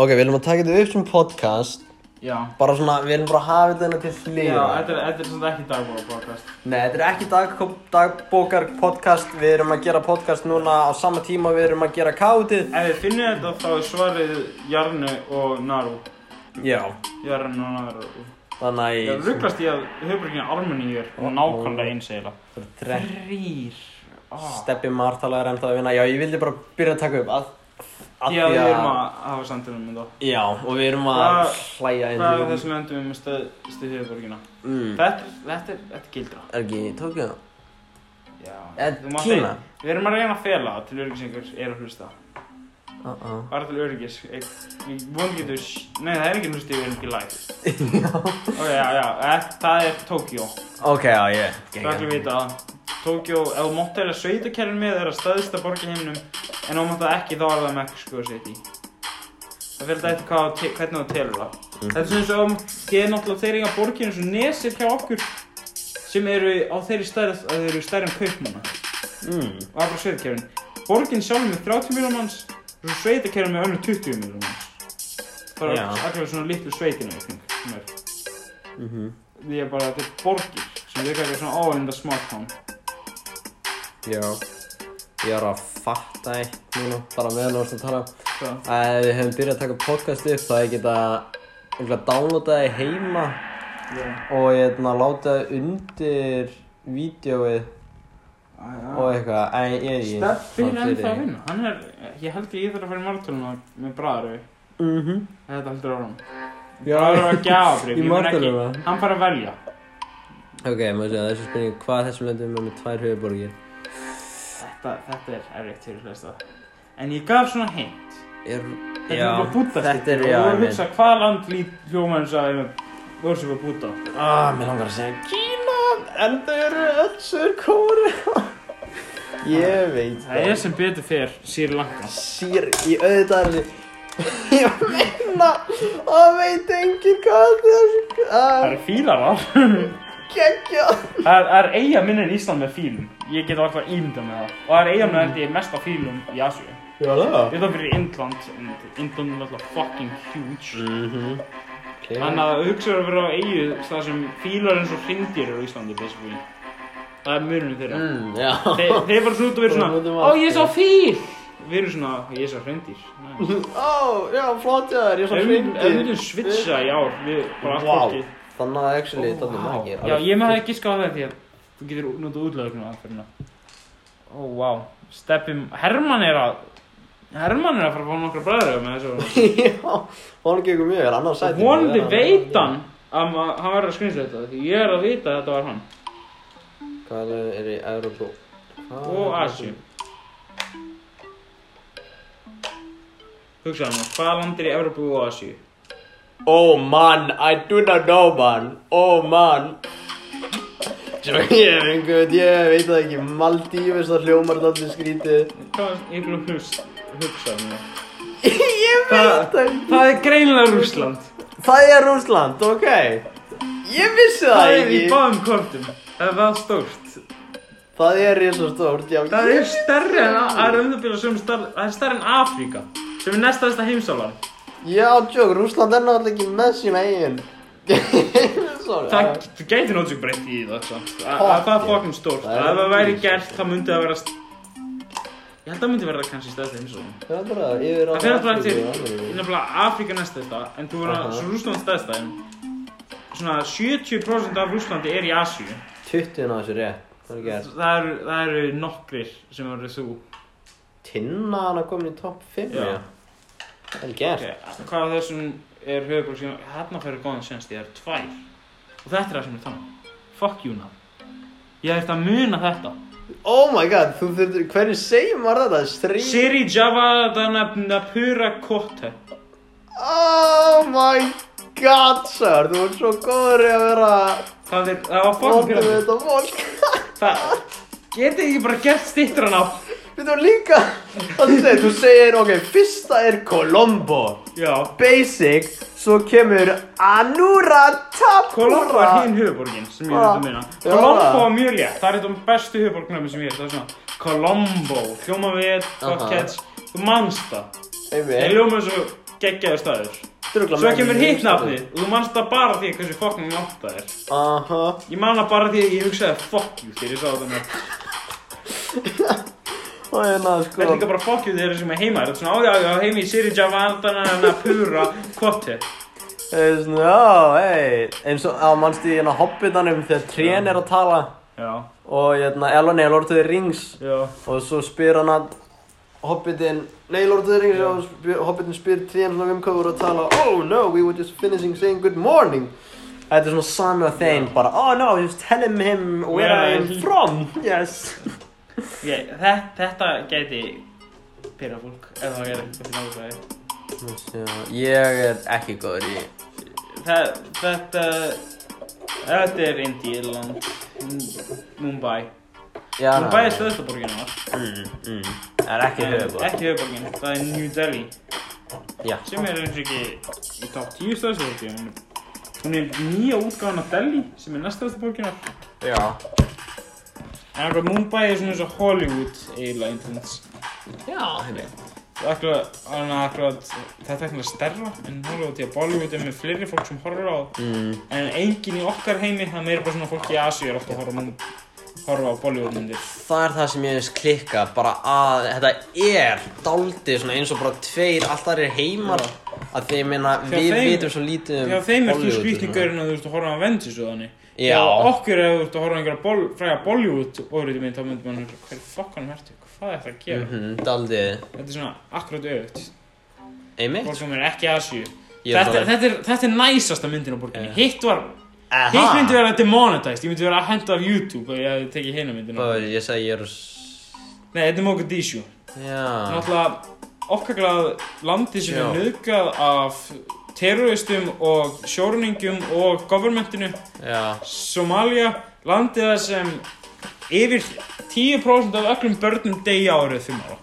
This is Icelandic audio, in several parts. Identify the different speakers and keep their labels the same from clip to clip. Speaker 1: Ok, við erum að taka þetta upp sem podcast
Speaker 2: Já.
Speaker 1: Bara svona, við erum bara að hafa þetta hérna til
Speaker 2: Já,
Speaker 1: hlýra
Speaker 2: þetta er, þetta er svona ekki dagbóla podcast.
Speaker 1: Nei, þetta er ekki dag, dagbókar podcast Við erum að gera podcast núna á sama tíma Við erum að gera kátið
Speaker 2: Ef þið finnir þetta þá er svarið Jarnu og Naru.
Speaker 1: Já
Speaker 2: Jarnu og Naru.
Speaker 1: Þannig að
Speaker 2: Ég
Speaker 1: ég
Speaker 2: rugglast í að höfbrukinni Armeníur og nákvæmlega eins eiginlega.
Speaker 1: Það er drek
Speaker 2: Þrýr. Ah.
Speaker 1: Steppi Martala er ennþá að vinna Já, ég vildi bara byrja að taka upp að, að
Speaker 2: Já, við erum að hafa samtunum um það.
Speaker 1: Já, og við erum að
Speaker 2: Það-
Speaker 1: hlæja inn
Speaker 2: Það er þessum endum um við með stöð, stöð höfbrukinna.
Speaker 1: mm.
Speaker 2: Þetta, þetta, er- þetta er gildra.
Speaker 1: Er ekki í Tókjó?
Speaker 2: Já.
Speaker 1: Eh,
Speaker 2: Þú mátt
Speaker 1: Kína?
Speaker 2: ekki- Við erum að reyna að fela það til öryggis einhvers er að hlusta.
Speaker 1: Uh-uh
Speaker 2: Bara til öryggis. Ég ég vona getur, nei það er ekki hlusti, við erum ekki live. Ok, já, já, eh, það er Tókjó.
Speaker 1: Ok, já, ég
Speaker 2: Það ætlum við vita að Tókjó, ef þú mátt eða sveitakerfin með er að staðista borgi heiminum en ef þú mátt það ekki þá er það Mexico City. Það fyrir þetta eftir hvað, þú te- hvernig þú telur það. Þetta er svona eins og ef þú- þið er náttúrulega þeir eiga borginu svo nesir hjá okkur sem eru á þeirri stærð að þeir eru stærri en kaupmanna.
Speaker 1: mm.
Speaker 2: Og það er bara sveitakerfin. Borgin sjálf með 30 miljón manns og svo sveitakerfin með önnur 20 miljón manns. Það eru
Speaker 1: Já.
Speaker 2: allir svona litlu sveitinu, ég finn, sem er.
Speaker 1: Mm
Speaker 2: Því er bara, þetta er borgir sem við kallar svona áhengar smartphone.
Speaker 1: Já Ég er að fatta eitt núna Bara meðan þú ert að tala
Speaker 2: Hvað?
Speaker 1: að Við hefum byrjað að taka podcast upp Það ég geta Einhverja downloadaði heima
Speaker 2: Já.
Speaker 1: Og ég hefna látaði undir Vídeóið og eitthvað Æ, ég er ég
Speaker 2: Steffi er ennþá að vinna, hann er, ég held ég þarf að fara í maratónuna með Bræðaröfi,
Speaker 1: Mhm
Speaker 2: þetta heldur áram.
Speaker 1: Já.
Speaker 2: Bræðaröfi að
Speaker 1: Í
Speaker 2: gjafa ég mun ekki,
Speaker 1: maraþoninu?
Speaker 2: hann fara að velja.
Speaker 1: Ok, maður sé að þessu spurning Hvað þessum löndum er með tvær höfuborgir
Speaker 2: Þetta, þetta er erfitt fyrir flesta. En ég gaf svona hint,
Speaker 1: Er
Speaker 2: þetta er bara búta
Speaker 1: Þetta er,
Speaker 2: og
Speaker 1: já,
Speaker 2: þú voru að
Speaker 1: einmitt.
Speaker 2: hugsa hvaða land lít hljóma eins og að voru sem að búta.
Speaker 1: Ah, mér langar að segja Kína, en þau eru öll sur kóru. ég veit
Speaker 2: Það er sem betur fyrr Sýri Lanka.
Speaker 1: Sýr í auðvitaðinni. Ég meina, það veit enginn hvað þessu
Speaker 2: Það
Speaker 1: er
Speaker 2: eru fílar þar.
Speaker 1: Ah, geggjað.
Speaker 2: Það það er eiga minni en Ísland með fílum. Ég get alltaf ímynda með það. Og það er eiga minni held ég mest af fílum í Asíu.
Speaker 1: Já, það.
Speaker 2: Ég þarf fyrir Indland, en Indland er alltaf fucking huge.
Speaker 1: Mhm.
Speaker 2: Þannig að hugsaður að vera á eigu það sem fílar eins og hringdýr eru á Íslandi, basically. Það er mörunum þeirra.
Speaker 1: Mm, já.
Speaker 2: Þe, þeir bara svona út og verið
Speaker 1: Bara út um
Speaker 2: svona, ó
Speaker 1: allt,
Speaker 2: ég sá
Speaker 1: já."
Speaker 2: fíl! Við erum svona, ég sá hringdýr. Nei.
Speaker 1: Ó, já, flott ég þér, ég
Speaker 2: Ef
Speaker 1: svo
Speaker 2: við myndum- ef við
Speaker 1: hrindir.
Speaker 2: myndum switcha í ár, við bara allt
Speaker 1: Vá,
Speaker 2: fólki.
Speaker 1: þannig að actually, þetta er margir.
Speaker 2: Já, ég með það ekki skáða það því að þú getur notað útlaugurinn á aðferðina. Ó, vá. Steppum, Herman er að, Herman er að fara að fá nokkra bræðröðu með þessu.
Speaker 1: Já, honum gengur mjög vel, annars sæti.
Speaker 2: Vonandi veit hann að ma- hann verður að skrýnsa þetta því ég er að vita að þetta var hann
Speaker 1: Hvað er í Európu? Ah,
Speaker 2: og Asju Hugsaðu hann, hvað landir í Evropu og Asju?
Speaker 1: Oh man, I do not know man Oh man Svo ég hef einhvern, ég veit það ekki Maldífis það hljómar allir skrítið
Speaker 2: Hvað er ég glúm hugsa hann
Speaker 1: Ég veit það ekki
Speaker 2: Það er greinilega Rússland
Speaker 1: Það er Rússland, ok Ég vissi það,
Speaker 2: Það er í
Speaker 1: ekki
Speaker 2: báðum kortum Það er það stórt
Speaker 1: Það er risa stórt, já
Speaker 2: Það
Speaker 1: ég
Speaker 2: er
Speaker 1: vissi
Speaker 2: stærri en það er um það byrja sem stærri Það er stærri en Afríka sem er næstaðasta heimsálan
Speaker 1: Já, tjók, Rússland er náttúrulega ekki með sín eigin Sorry, já.
Speaker 2: Það þú gæti náttúrulega breytt í það samt. Það það er það fokkin stórt.
Speaker 1: Það er
Speaker 2: Ef það væri
Speaker 1: fokkin
Speaker 2: gert, það myndi það vera... st- Ég held að það myndi verða kannski stærst eins og það.
Speaker 1: Það er bara yfir á
Speaker 2: Það fyrir alltaf
Speaker 1: Afríku,
Speaker 2: eftir,
Speaker 1: Ameríku.
Speaker 2: innafnilega Afríka næst þetta, en þú verður
Speaker 1: Aha.
Speaker 2: að, svo Rússland stærst það, en svona 70% af Rússlandi er í Asíu.
Speaker 1: 20 ná þessu rétt Það er gert
Speaker 2: Það eru, það eru nokkrir sem eru þú.
Speaker 1: Tinna hann að koma í topp 5
Speaker 2: Já.
Speaker 1: já Það er gert
Speaker 2: Okay. Hvað af þessum er höfuborg sem, hérna fyrir góðan sens, það eru tvær. Og þetta er það sem er þannig. Fuck you now. Ég ætti að muna þetta.
Speaker 1: Oh my god, þú þurftur, hvernig segir maður þetta? Stríð?
Speaker 2: Siri Javadhanapura Kotte
Speaker 1: Oh my god, sir, þú ert svo góður í að vera
Speaker 2: Það er, það var fokkin
Speaker 1: Fóttu við
Speaker 2: pyrrandi
Speaker 1: þetta fólk
Speaker 2: Það getið ekki bara gert stittur hann á
Speaker 1: Við þú líka Það þú segir, þú segir, ok, fyrsta er Colombo
Speaker 2: Já
Speaker 1: Basic, svo kemur Anuratapura
Speaker 2: Colombo er hinn höfuborgin sem ég
Speaker 1: Ah,
Speaker 2: veit að minna
Speaker 1: já.
Speaker 2: Colombo er mjög létt, það er eitthvað bestu höfuborgnöfum sem ég er Það er svona Colombo, hljóma
Speaker 1: Aha.
Speaker 2: við,
Speaker 1: Eh?
Speaker 2: gott catch Þú manst það
Speaker 1: Einmitt.
Speaker 2: Það hljóma eins og geggjaður staður.
Speaker 1: Drugla
Speaker 2: Svo kemur hitt nafnið og þú manst það bara því hversu fucking langt það er.
Speaker 1: Aha.
Speaker 2: Ég man það bara því að ég hugsaði fuck you þegar ég sá þetta nafn.
Speaker 1: Og hérna,
Speaker 2: Það er
Speaker 1: sko.
Speaker 2: líka bara fuck you þegar þeir eru sem er heima. Það er svona ájájájá heimi í Siri Javandana en að pura kvoti.
Speaker 1: Það er svona, já, hei. Eins og, á mannstu í hérna hobbitanum þegar trén er að tala.
Speaker 2: Já,
Speaker 1: Og hérna, Elon er Lord of the Rings.
Speaker 2: já,
Speaker 1: Og svo spyr hann að Hobbitin, nei Lord of the Rings
Speaker 2: Já.
Speaker 1: og spyr, Hobbitin spyr trén svona um hvað voru að tala Oh no, we were just finishing saying good morning Þetta er svona sami og þeim bara Oh no, just tell him him where I
Speaker 2: Where
Speaker 1: am
Speaker 2: I-
Speaker 1: from Yes
Speaker 2: Ég, þe- þetta gæti pyrra fólk ef það er eitthvað fyrir náttúrulega.
Speaker 1: Já, Ég er ekki góður í
Speaker 2: Þetta, þetta er Indíland, Mumbai.
Speaker 1: Já,
Speaker 2: Mumbai er stöðstaborgin var.
Speaker 1: mm, mm. Það er Ah. ekki höfuborg
Speaker 2: Ekki höfuborgin, það er New Delhi.
Speaker 1: Já.
Speaker 2: Sem er eins og ekki í top 10 stöðstaborgin. Hún er nýja útgáðan af Delhi sem er næst stöðstaborgin.
Speaker 1: Já
Speaker 2: En eitthvað Mumbai er svona eins og Hollywood eiginlega Indílands.
Speaker 1: Já, henni
Speaker 2: Akkurat, annað akkurat, þetta er eitthvað stærra en Hollywood því að Bollywood er með fleiri fólk sem horfir á
Speaker 1: mm.
Speaker 2: en enginn í okkar heimi, það er meira bara svona fólk í Asi er ofta að horfa, á mynd- horfa á Bollywood myndir
Speaker 1: Það er það sem ég hefðist klikka, bara að þetta er daldið svona eins og bara tveir alltaf er heimar að því ég meina
Speaker 2: Þegar
Speaker 1: við
Speaker 2: þeim-
Speaker 1: vitum svo lítið um
Speaker 2: Þegar þeim er þú
Speaker 1: Hollywood og
Speaker 2: skrýtningurinn að þú ert að horfa á Avengers og þannig
Speaker 1: Já.
Speaker 2: Þegar okkur er að þú ert að horfa á einhverja bol, fræga Bollywood orðið mynd þá myndir mann hugsa, hver fokkanum ertu, hvað er það að
Speaker 1: svona.
Speaker 2: gera?
Speaker 1: Mhm, daldið,
Speaker 2: Þetta er svona akkurat auðvögt,
Speaker 1: einmitt
Speaker 2: fólk sem er ekki í Asi
Speaker 1: Ég er
Speaker 2: Þetta,
Speaker 1: bara- Eh.
Speaker 2: þetta, er, þetta er næsasta myndin á borginni,
Speaker 1: Já.
Speaker 2: hitt var Hitt myndi vera demonetized, ég myndi vera að henda af YouTube og ég hefði tekið hérna myndina.
Speaker 1: Bara, ég sagði ég er s-
Speaker 2: Nei, þetta er Mogadishu.
Speaker 1: Já
Speaker 2: Náttúrulega okkarglað landi sem
Speaker 1: Já.
Speaker 2: er nöðgað af terroristum og sjórningum og governmentinu.
Speaker 1: Já
Speaker 2: Somalia, landið það sem yfir 10% af öllum börnum deyja árið fimm ára.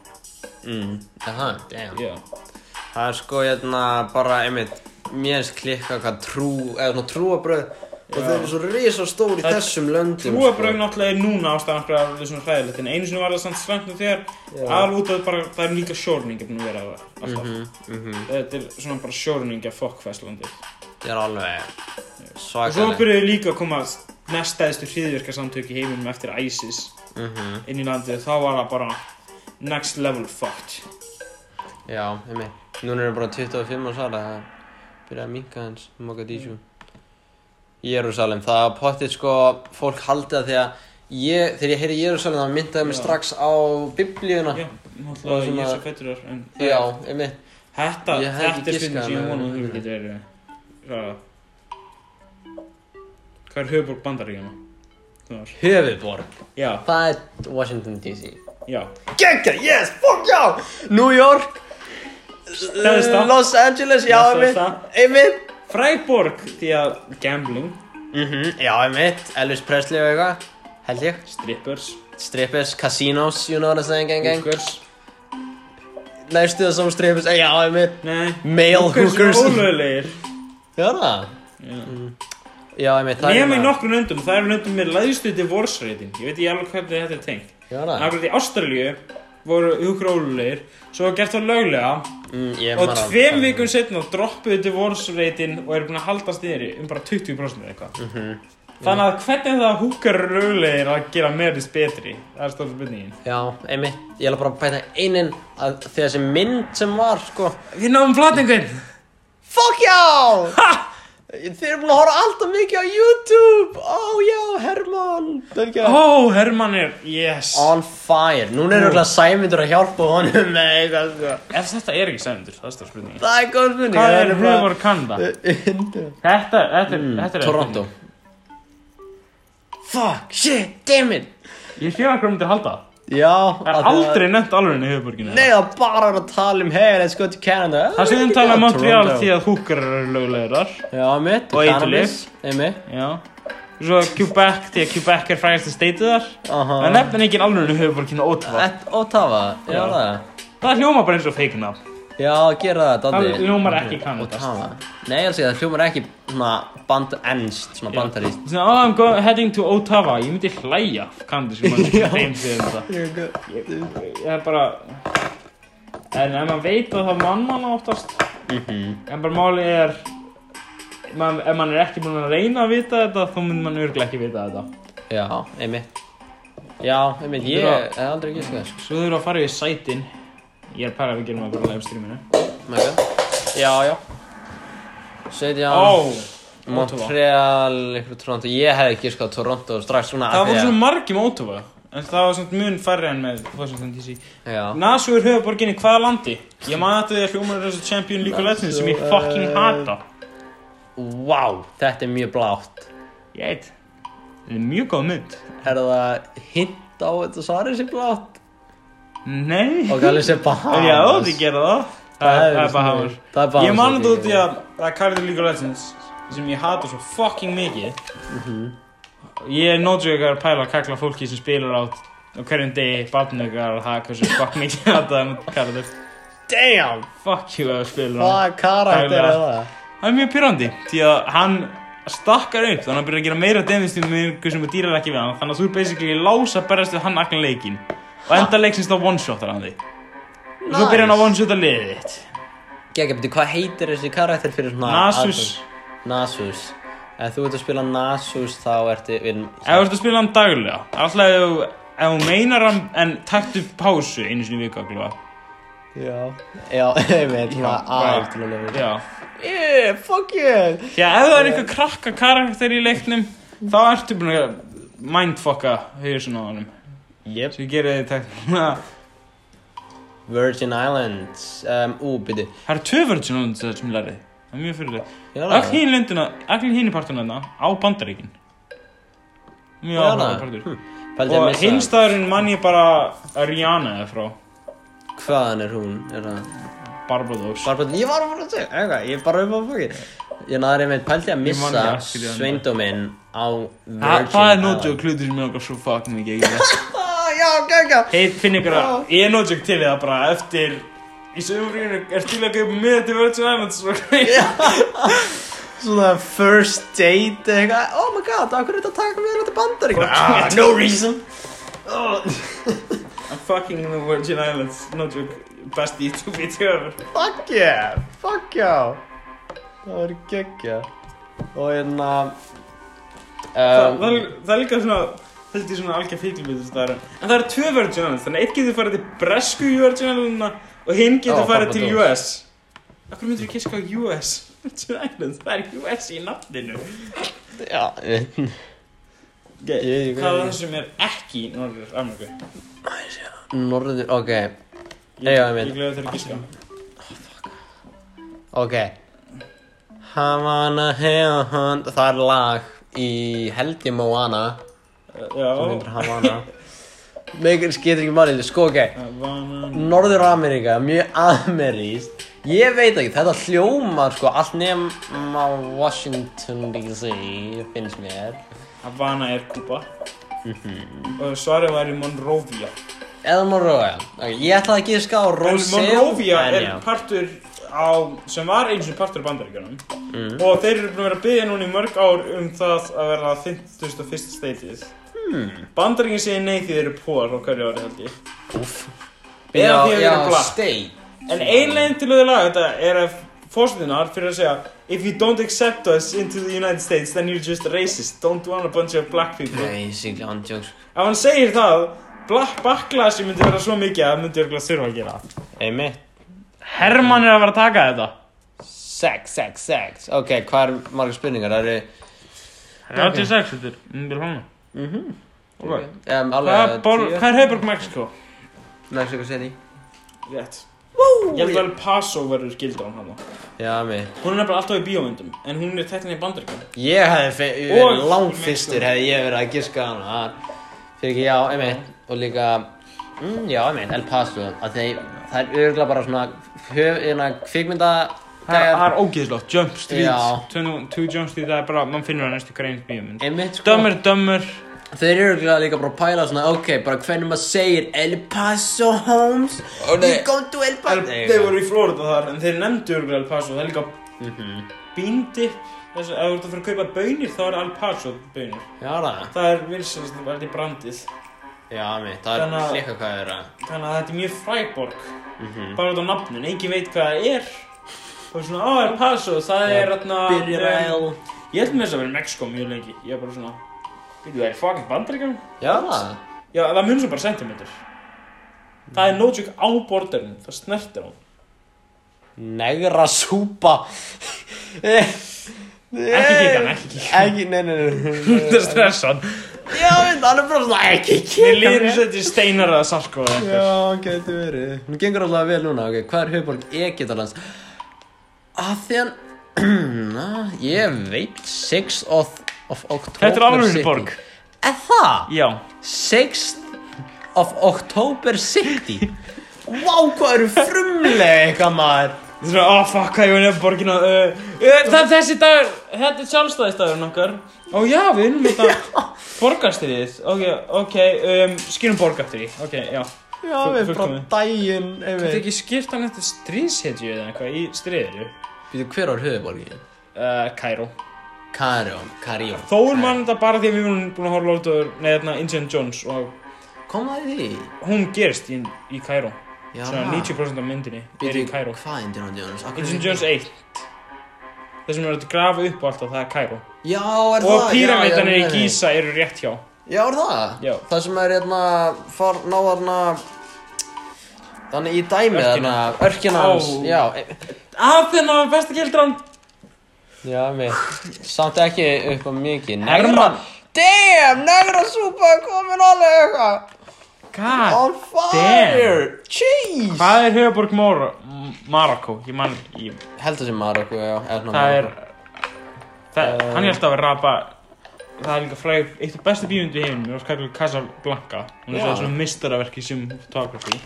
Speaker 1: mm. Aha, damn
Speaker 2: Já.
Speaker 1: Það er sko hérna bara einmitt Mér hefðist klikka hvað trú, eða svona trúabröð Og
Speaker 2: Já.
Speaker 1: þau eru svo risastór í
Speaker 2: Það-
Speaker 1: þessum löndum sko.
Speaker 2: Trúabrögg náttúrulega er núna ástæðan okkur að það er svona hræðilegt en einu sinni var það samt slæmt og þér
Speaker 1: Já.
Speaker 2: alveg út af bara, það er líka sjórningi búin að vera alltaf.
Speaker 1: Mhm, mhm.
Speaker 2: Þetta er svona bara sjórningja fokkfæslandi.
Speaker 1: Þetta er alveg
Speaker 2: Og svo
Speaker 1: svakalegt
Speaker 2: byrjuðu líka að koma næst æðstu hriðvirkarsamtök í heiminum eftir ISIS
Speaker 1: Mhm.
Speaker 2: inn í landið. Þá var það bara next level fucked.
Speaker 1: Já, heimi. Núna erum við bara 25 ára sala, það byrjaði að minka hans, Mogadishu. Jérúsalem, það er pottið sko, fólk haldið að því að ég, þegar ég heyri Jérúsalem þá myndaði mér
Speaker 2: Já.
Speaker 1: strax á biblíuna.
Speaker 2: Já,
Speaker 1: Og
Speaker 2: náttúrulega
Speaker 1: Ah. svona-
Speaker 2: ég er svo fættur þar. en það-
Speaker 1: Já, heimi.
Speaker 2: Þetta,
Speaker 1: Ég hefði
Speaker 2: þetta
Speaker 1: ekki
Speaker 2: er stundin
Speaker 1: giskað
Speaker 2: sem ég
Speaker 1: hana,
Speaker 2: vona að þú
Speaker 1: nei.
Speaker 2: getur verið. Hvað? Hvað er höfuborg bandaríkjana? Það var.
Speaker 1: Höfuborg.
Speaker 2: Já,
Speaker 1: Það er Washington DC.
Speaker 2: já.
Speaker 1: Gekka, yes, fuck já! New York,
Speaker 2: Stærsta.
Speaker 1: Los Angeles, já, heimi.
Speaker 2: Stærsta.
Speaker 1: Heimi.
Speaker 2: Fræborg því að gambling,
Speaker 1: Mhm, já, heimi. Elvis Presley og eitthvað, held ég.
Speaker 2: strippers,
Speaker 1: Strippers, casinos, you know what I'm saying, gang, gang.
Speaker 2: hookers.
Speaker 1: Næstu það sem strefis, já, ég mitt
Speaker 2: Nei,
Speaker 1: Male hookers.
Speaker 2: Hookers eru ólögulegir.
Speaker 1: Já, það
Speaker 2: Já.
Speaker 1: Já, ég mitt, það
Speaker 2: Nefn Mm. í
Speaker 1: hérna-
Speaker 2: nokkrum löndum, það eru löndum með læðstu divorce rating. Ég veit ég alveg hvernig þetta er tengt.
Speaker 1: Já, það
Speaker 2: Akkurat í Ástralíu voru hugur ólulegir, svo var gert það löglega
Speaker 1: Mm, ég
Speaker 2: og
Speaker 1: man að-
Speaker 2: tveim vikum setna droppuðu divorce rating og eru búin að haldast niður um bara 20% eða eitthvað.
Speaker 1: Mhm.
Speaker 2: Þannig að hvernig það húkar löglegir að gera meðlis betri? Það er stóra spurningin.
Speaker 1: Já, ég mitt, ég ætla bara að bæta einin að því þessi mynd sem var, sko
Speaker 2: Við náum flatningun!
Speaker 1: Fuck já! Ha! Þið eru búin að horfa alltaf mikið á YouTube Ó, já, Herman Það er ekki að
Speaker 2: Ó, Herman er, yes!
Speaker 1: On fire, núna er auðvitað Sæmundur að hjálpa honum með eitthvað, sko
Speaker 2: Ef þetta er ekki sæmundur, það er stóra spurningin.
Speaker 1: Það er góð spurning
Speaker 2: Hvað
Speaker 1: það
Speaker 2: er
Speaker 1: bara-
Speaker 2: hugur kanda? Þetta, þetta, er- þetta er...
Speaker 1: Toronto Fuck, shit, damn it
Speaker 2: Ég sé að hvað myndir halda það.
Speaker 1: Já
Speaker 2: Það er aldrei nefnt alveg í höfuborginu
Speaker 1: Nei, það er bara að tala um Hey, let's go to Canada
Speaker 2: Það séðum tala um Montreal því að húkar eru lögulegur þar
Speaker 1: Já, mitt
Speaker 2: Og
Speaker 1: cannabis, einmitt.
Speaker 2: Já Svo Quebec því að Quebec er frægast að steitið þar
Speaker 1: Aha.
Speaker 2: Það nefnir engin alveg í höfuborginu Ottawa
Speaker 1: Ett- Ottawa, já
Speaker 2: Já.
Speaker 1: það
Speaker 2: Það hljóma bara eins og feikna
Speaker 1: Já, gera það, Dandi
Speaker 2: Það hljómar ekki kannadast
Speaker 1: Ottawa Nei, alveg, það hljómar ekki svona band, ennst, svona bandaríst
Speaker 2: Svona, oh, I'm go- heading to Ottawa Ég myndi hlæja kannadast
Speaker 1: Já.
Speaker 2: Ég er bara En ef maður veit að það mann mann oftast
Speaker 1: Mhm.
Speaker 2: En bara máli er man, Ef mann er ekki búinn að reyna að vita þetta þá myndir mann örglega ekki vita þetta
Speaker 1: Já, einmitt. Já, einmitt, ég
Speaker 2: Þetta er
Speaker 1: hef aldrei gist það, sko.
Speaker 2: Svo þurfum við að fara í sætin Ég er pæla að við gerum það bara á livestreaminu
Speaker 1: Mega. Já, já. 17.
Speaker 2: Ó,
Speaker 1: Montreal, ykkur Toronto. Ég hef ekki giskað á Toronto strax svona.
Speaker 2: það
Speaker 1: af því
Speaker 2: voru
Speaker 1: að-
Speaker 2: svona margi með Ótova En það var svona mun færri en með Washington DC
Speaker 1: Já.
Speaker 2: Nasu er höfuborginni hvaða landi? Ég maður þetta því að hljómar er þessu Champion League of Legends sem ég fucking hata
Speaker 1: Vá, þetta er mjög blátt.
Speaker 2: Ég veit Það er mjög góð mynd
Speaker 1: Er það hint á þetta svarið sem blátt?
Speaker 2: Nei
Speaker 1: Og gæli sem Bahamas.
Speaker 2: En ég átti að gera það Ah, Það er- það er
Speaker 1: snið.
Speaker 2: bara hafur
Speaker 1: Það er Bahamas.
Speaker 2: Ég man þetta
Speaker 1: held
Speaker 2: út í að það er Cardi League of Legends sem ég hata svo fucking mikið Ég er nótjögar að pæla að kakla fólki sem spilar á á hverjum degi barnögar og það hversu fuck mikið ég hata það með Cardi
Speaker 1: Damn!
Speaker 2: Fuck you að spila hann
Speaker 1: Hvaða karakter er það?
Speaker 2: Það er mjög pyrrandi því að hann stakkar upp þannig að hann byrjar að gera meira demistum með einhver sem dýrar ekki við hann þannig að þú er basically lás að berjast við hann allan leikin og enda leiksins þá one-shotar hann þig og svo byrjar hann að one-shota liðið þitt
Speaker 1: Gekka, betur, hvað heitir þessi karakter fyrir svona...
Speaker 2: Nasus
Speaker 1: Nasus. Ef þú ert að spila Nasus þá ertu... Við...
Speaker 2: ef þú ert að spila hann daglega alltaf ef þú- ef þú meinar hann en taktu pásu einu sinni í viku að glúa
Speaker 1: Já. Já, einmitt, svona
Speaker 2: Já,
Speaker 1: aðeins
Speaker 2: bara-
Speaker 1: til að lifa.
Speaker 2: já
Speaker 1: Yeah, fuck yeah!
Speaker 2: því að ef það er einhver krakka karakter í leiknum þá ertu búin að mindfucka hausun á honum
Speaker 1: Yep.
Speaker 2: svo ég geri þið takna
Speaker 1: Virgin Islands. Um, ú, byrju.
Speaker 2: það eru tvö vörð sem hún sem lærið það er mjög fyrirlega
Speaker 1: Já,
Speaker 2: Öll hinn löndina, öll hinn partuna þarna á bandaríkin Mjög
Speaker 1: Já,
Speaker 2: áhuga
Speaker 1: það. Hm,
Speaker 2: partur
Speaker 1: Pældi að
Speaker 2: Og
Speaker 1: missa-
Speaker 2: hinn staðurinn mann ég bara að Rihanna eða frá
Speaker 1: Hvaðan er hún? Er það...
Speaker 2: Barbados
Speaker 1: Barbara... Ég var að fara að segja, eitthvað, ég er bara upp á fokki Ég náður einmitt, pældi að
Speaker 2: man
Speaker 1: missa
Speaker 2: ekki eftir því annað.
Speaker 1: sveindóminn á Virgin
Speaker 2: Þa, Það er
Speaker 1: Islands.
Speaker 2: nótjög klutur sem ég okkar svo fucking mikið ekki það
Speaker 1: Ah, Já, gegga
Speaker 2: Heit, finn ykkur
Speaker 1: Já.
Speaker 2: að Ég er nótjög til í það bara eftir Í sömurinu er til að kaupa miða til Virgin Islands sko? og
Speaker 1: Svona first date eitthvað Oh my god, af hverju er þetta að taka mér þetta bandar eitthvað ah, No reason oh,
Speaker 2: I'm fucking in the Virgin Islands Nótjög best YouTube video
Speaker 1: Um.
Speaker 2: ever
Speaker 1: Fuck yeah, fuck yeah Það verður gegga Og hérna
Speaker 2: Það
Speaker 1: um,
Speaker 2: það er- það er líka svona held ég svona algjör fíkilbyrðist þar en það eru tvö Virgin Islands þannig að eitt getur farið til bresku Virgin Islandina og hinn getur
Speaker 1: Já,
Speaker 2: farið til
Speaker 1: Barbados.
Speaker 2: US Akkur myndir þú kiska á US Virgin Islands, það er US í nafninu
Speaker 1: Já, Ég- ég-
Speaker 2: Hvað er það sem er ekki í Norður Ameríku?
Speaker 1: norður, ok
Speaker 2: Ég,
Speaker 1: Já, ég veit.
Speaker 2: ég gleði þér að giska
Speaker 1: Ok Havana Heon Það er lag í held ég Moana sem heitir
Speaker 2: Já
Speaker 1: Havana Megur skiptir ekki máli Sko ok
Speaker 2: Havana
Speaker 1: Norður Ameríka, mjög ameríst Ég veit ekki, þetta hljómar sko allt nema Washington DC finnst mér
Speaker 2: Havana er Kuba og svarið væri Monrovia
Speaker 1: Eða Monrovia okay, Ég ætlaði að giska á
Speaker 2: En
Speaker 1: Rosé
Speaker 2: Monrovia
Speaker 1: en
Speaker 2: er
Speaker 1: já.
Speaker 2: partur á, sem var eins og partur af bandaríkjunum og þeir eru búin að vera að byggja núna í mörg ár um það að verða 51. stateið hmm. Bandaríkjun segir nei því þeir eru pór á hverju ári held ég
Speaker 1: Já,
Speaker 2: eða því að
Speaker 1: já,
Speaker 2: vera black.
Speaker 1: state
Speaker 2: En ein leginn til að laga þetta er að fórsöndunar fyrir að segja If you don't accept us into the United States then you're just racist Don't want a bunch of black people
Speaker 1: Nei, sigli andjóks
Speaker 2: Ef hann segir það, black backlash myndi vera svo mikið að það myndi örgulega þurfa að gera það.
Speaker 1: Einmitt
Speaker 2: Herman er að vera að taka þetta
Speaker 1: Sex, sex, sex Ok, hvað er margar spurningar? Það eru
Speaker 2: 36 þetta er, myndi vera hana Mhm. Ok.
Speaker 1: um,
Speaker 2: Hvað
Speaker 1: alveg
Speaker 2: er bor- hvað er höfburg Mexiko?
Speaker 1: Mexico City
Speaker 2: Rétt Ég held að El Paso verður gildur á hana
Speaker 1: Já, mig
Speaker 2: Hún er nefnilega alltaf í bíómyndum En hún er tættin í bandaríkjum
Speaker 1: Ég hefði fe- ég
Speaker 2: Og-
Speaker 1: verið langfyrstur hefði ég verið að giska á hana Það- Fyrir ekki, já, einmitt Og líka, mm, já, einmitt, El Paso að þeir, Það er örgulega bara svona höf, hérna, kvikmynda
Speaker 2: Það er- það er ógeðslótt, Jump
Speaker 1: Já.
Speaker 2: Street 2 Jump Street, það er bara, mann finnur það næstu grein bíómynd
Speaker 1: Einmitt, sko
Speaker 2: Dömmur, dömmur
Speaker 1: Þeir eru örgulega líka bara að pæla svona Ok, bara hvernig maður segir El Paso Holmes
Speaker 2: Ó, nei.
Speaker 1: You go to El Paso
Speaker 2: Þeir voru í Florida þar En þeir nefndu örgulega El Paso Það er líka bíndi Þess að ef þú ert að fara að kaupa baunir Þá er El Paso baunir
Speaker 1: Já, það
Speaker 2: Það er vilsast, það er í brandið
Speaker 1: Já, einmitt, það
Speaker 2: Þannig
Speaker 1: er
Speaker 2: að-
Speaker 1: líka hvað er að
Speaker 2: Þannig að þetta er mjög fræborg Bara út á nafnun, engin veit hvað það er og svona, ó, El Paso, það er hérna...
Speaker 1: Byrjaræl
Speaker 2: Ég held með þess að vera í Mexiko mjög lengi, ég er bara svona, byrju, það er fucking bandaríkjum.
Speaker 1: Já,
Speaker 2: Já, það mun svo bara sentimentur. Það er no joke á borderinu, það snertir hún.
Speaker 1: negra súpa
Speaker 2: Ekki kíkja hann, ekki kíkja
Speaker 1: Ekki, nei, nei, nei
Speaker 2: hann. Það er stressan.
Speaker 1: Já, veit, hann er bara svona ekki
Speaker 2: Mér
Speaker 1: kíkja
Speaker 2: líður eins og þetta er steinar eða sarko eða eitthvað.
Speaker 1: Já, getur verið Nú gengur alltaf vel núna, ok, hvað er höfuborg Egyptalands? Aþjan Na, ég veit 6th of, of October
Speaker 2: Þetta er
Speaker 1: City.
Speaker 2: alveg borg.
Speaker 1: Er það?
Speaker 2: Já.
Speaker 1: 6th of October City Vá, hvað eru frumlega eitthvað maður
Speaker 2: Það er svona, oh fuck, hvað ég var nefn borgin að, uh, uh, það er þessi dagur, þetta er sjálfstæðistagurinn okkar. Ó já, við erum þetta borgarstyrðið, ok, ok, um, skýrum borgarstyrðið, ok, já.
Speaker 1: Já,
Speaker 2: Fu-
Speaker 1: við bara
Speaker 2: fullkomið.
Speaker 1: daginn
Speaker 2: Þetta er ekki skýrt hann eftir stríðshetju eða eitthvað í stríðinu.
Speaker 1: Býtu, hver var höfuborgin?
Speaker 2: Uh, Kæró.
Speaker 1: Karjón, Karjón
Speaker 2: Þó er mann þetta bara því að við erum búin að horfa lótaður, nei, þarna, Indiana Jones og
Speaker 1: Kom það í því?
Speaker 2: hún gerist í, í Kæró.
Speaker 1: Já
Speaker 2: Svona 90% af myndinni er í
Speaker 1: Býtu,
Speaker 2: Kæró.
Speaker 1: Hvað Indiana Jones? Af hverju-
Speaker 2: Indiana Jones 1. Það sem er að grafa upp og allt og það er Kæró.
Speaker 1: Já, er það
Speaker 2: Og píramítanir
Speaker 1: Já, já,
Speaker 2: í
Speaker 1: nei, nei.
Speaker 2: Gísa eru rétt hjá.
Speaker 1: Já, er það?
Speaker 2: Já.
Speaker 1: Það sem er hérna, far, náðarna Þannig í dæmi
Speaker 2: Örkina.
Speaker 1: þarna, örkina
Speaker 2: Ó.
Speaker 1: hans Já, e-
Speaker 2: Athena, besta gildran
Speaker 1: já, við Samt ekki upp á mikið
Speaker 2: Hermann.
Speaker 1: Damn, negra súpa er komin alveg eitthvað
Speaker 2: God
Speaker 1: On fire Jeez
Speaker 2: Hvað er höfuborg Mor M- Marokko? Ég man í
Speaker 1: Heldur sem Marokko, já eða svona
Speaker 2: Það er
Speaker 1: Marokko.
Speaker 2: það,
Speaker 1: Eh.
Speaker 2: Hann held að vera rapa Það er líka fræg Eitt af bestu bíundu í heiminum er skaklega Casablanca Hún er
Speaker 1: Já.
Speaker 2: svona svona mistaraverk í sum fotografi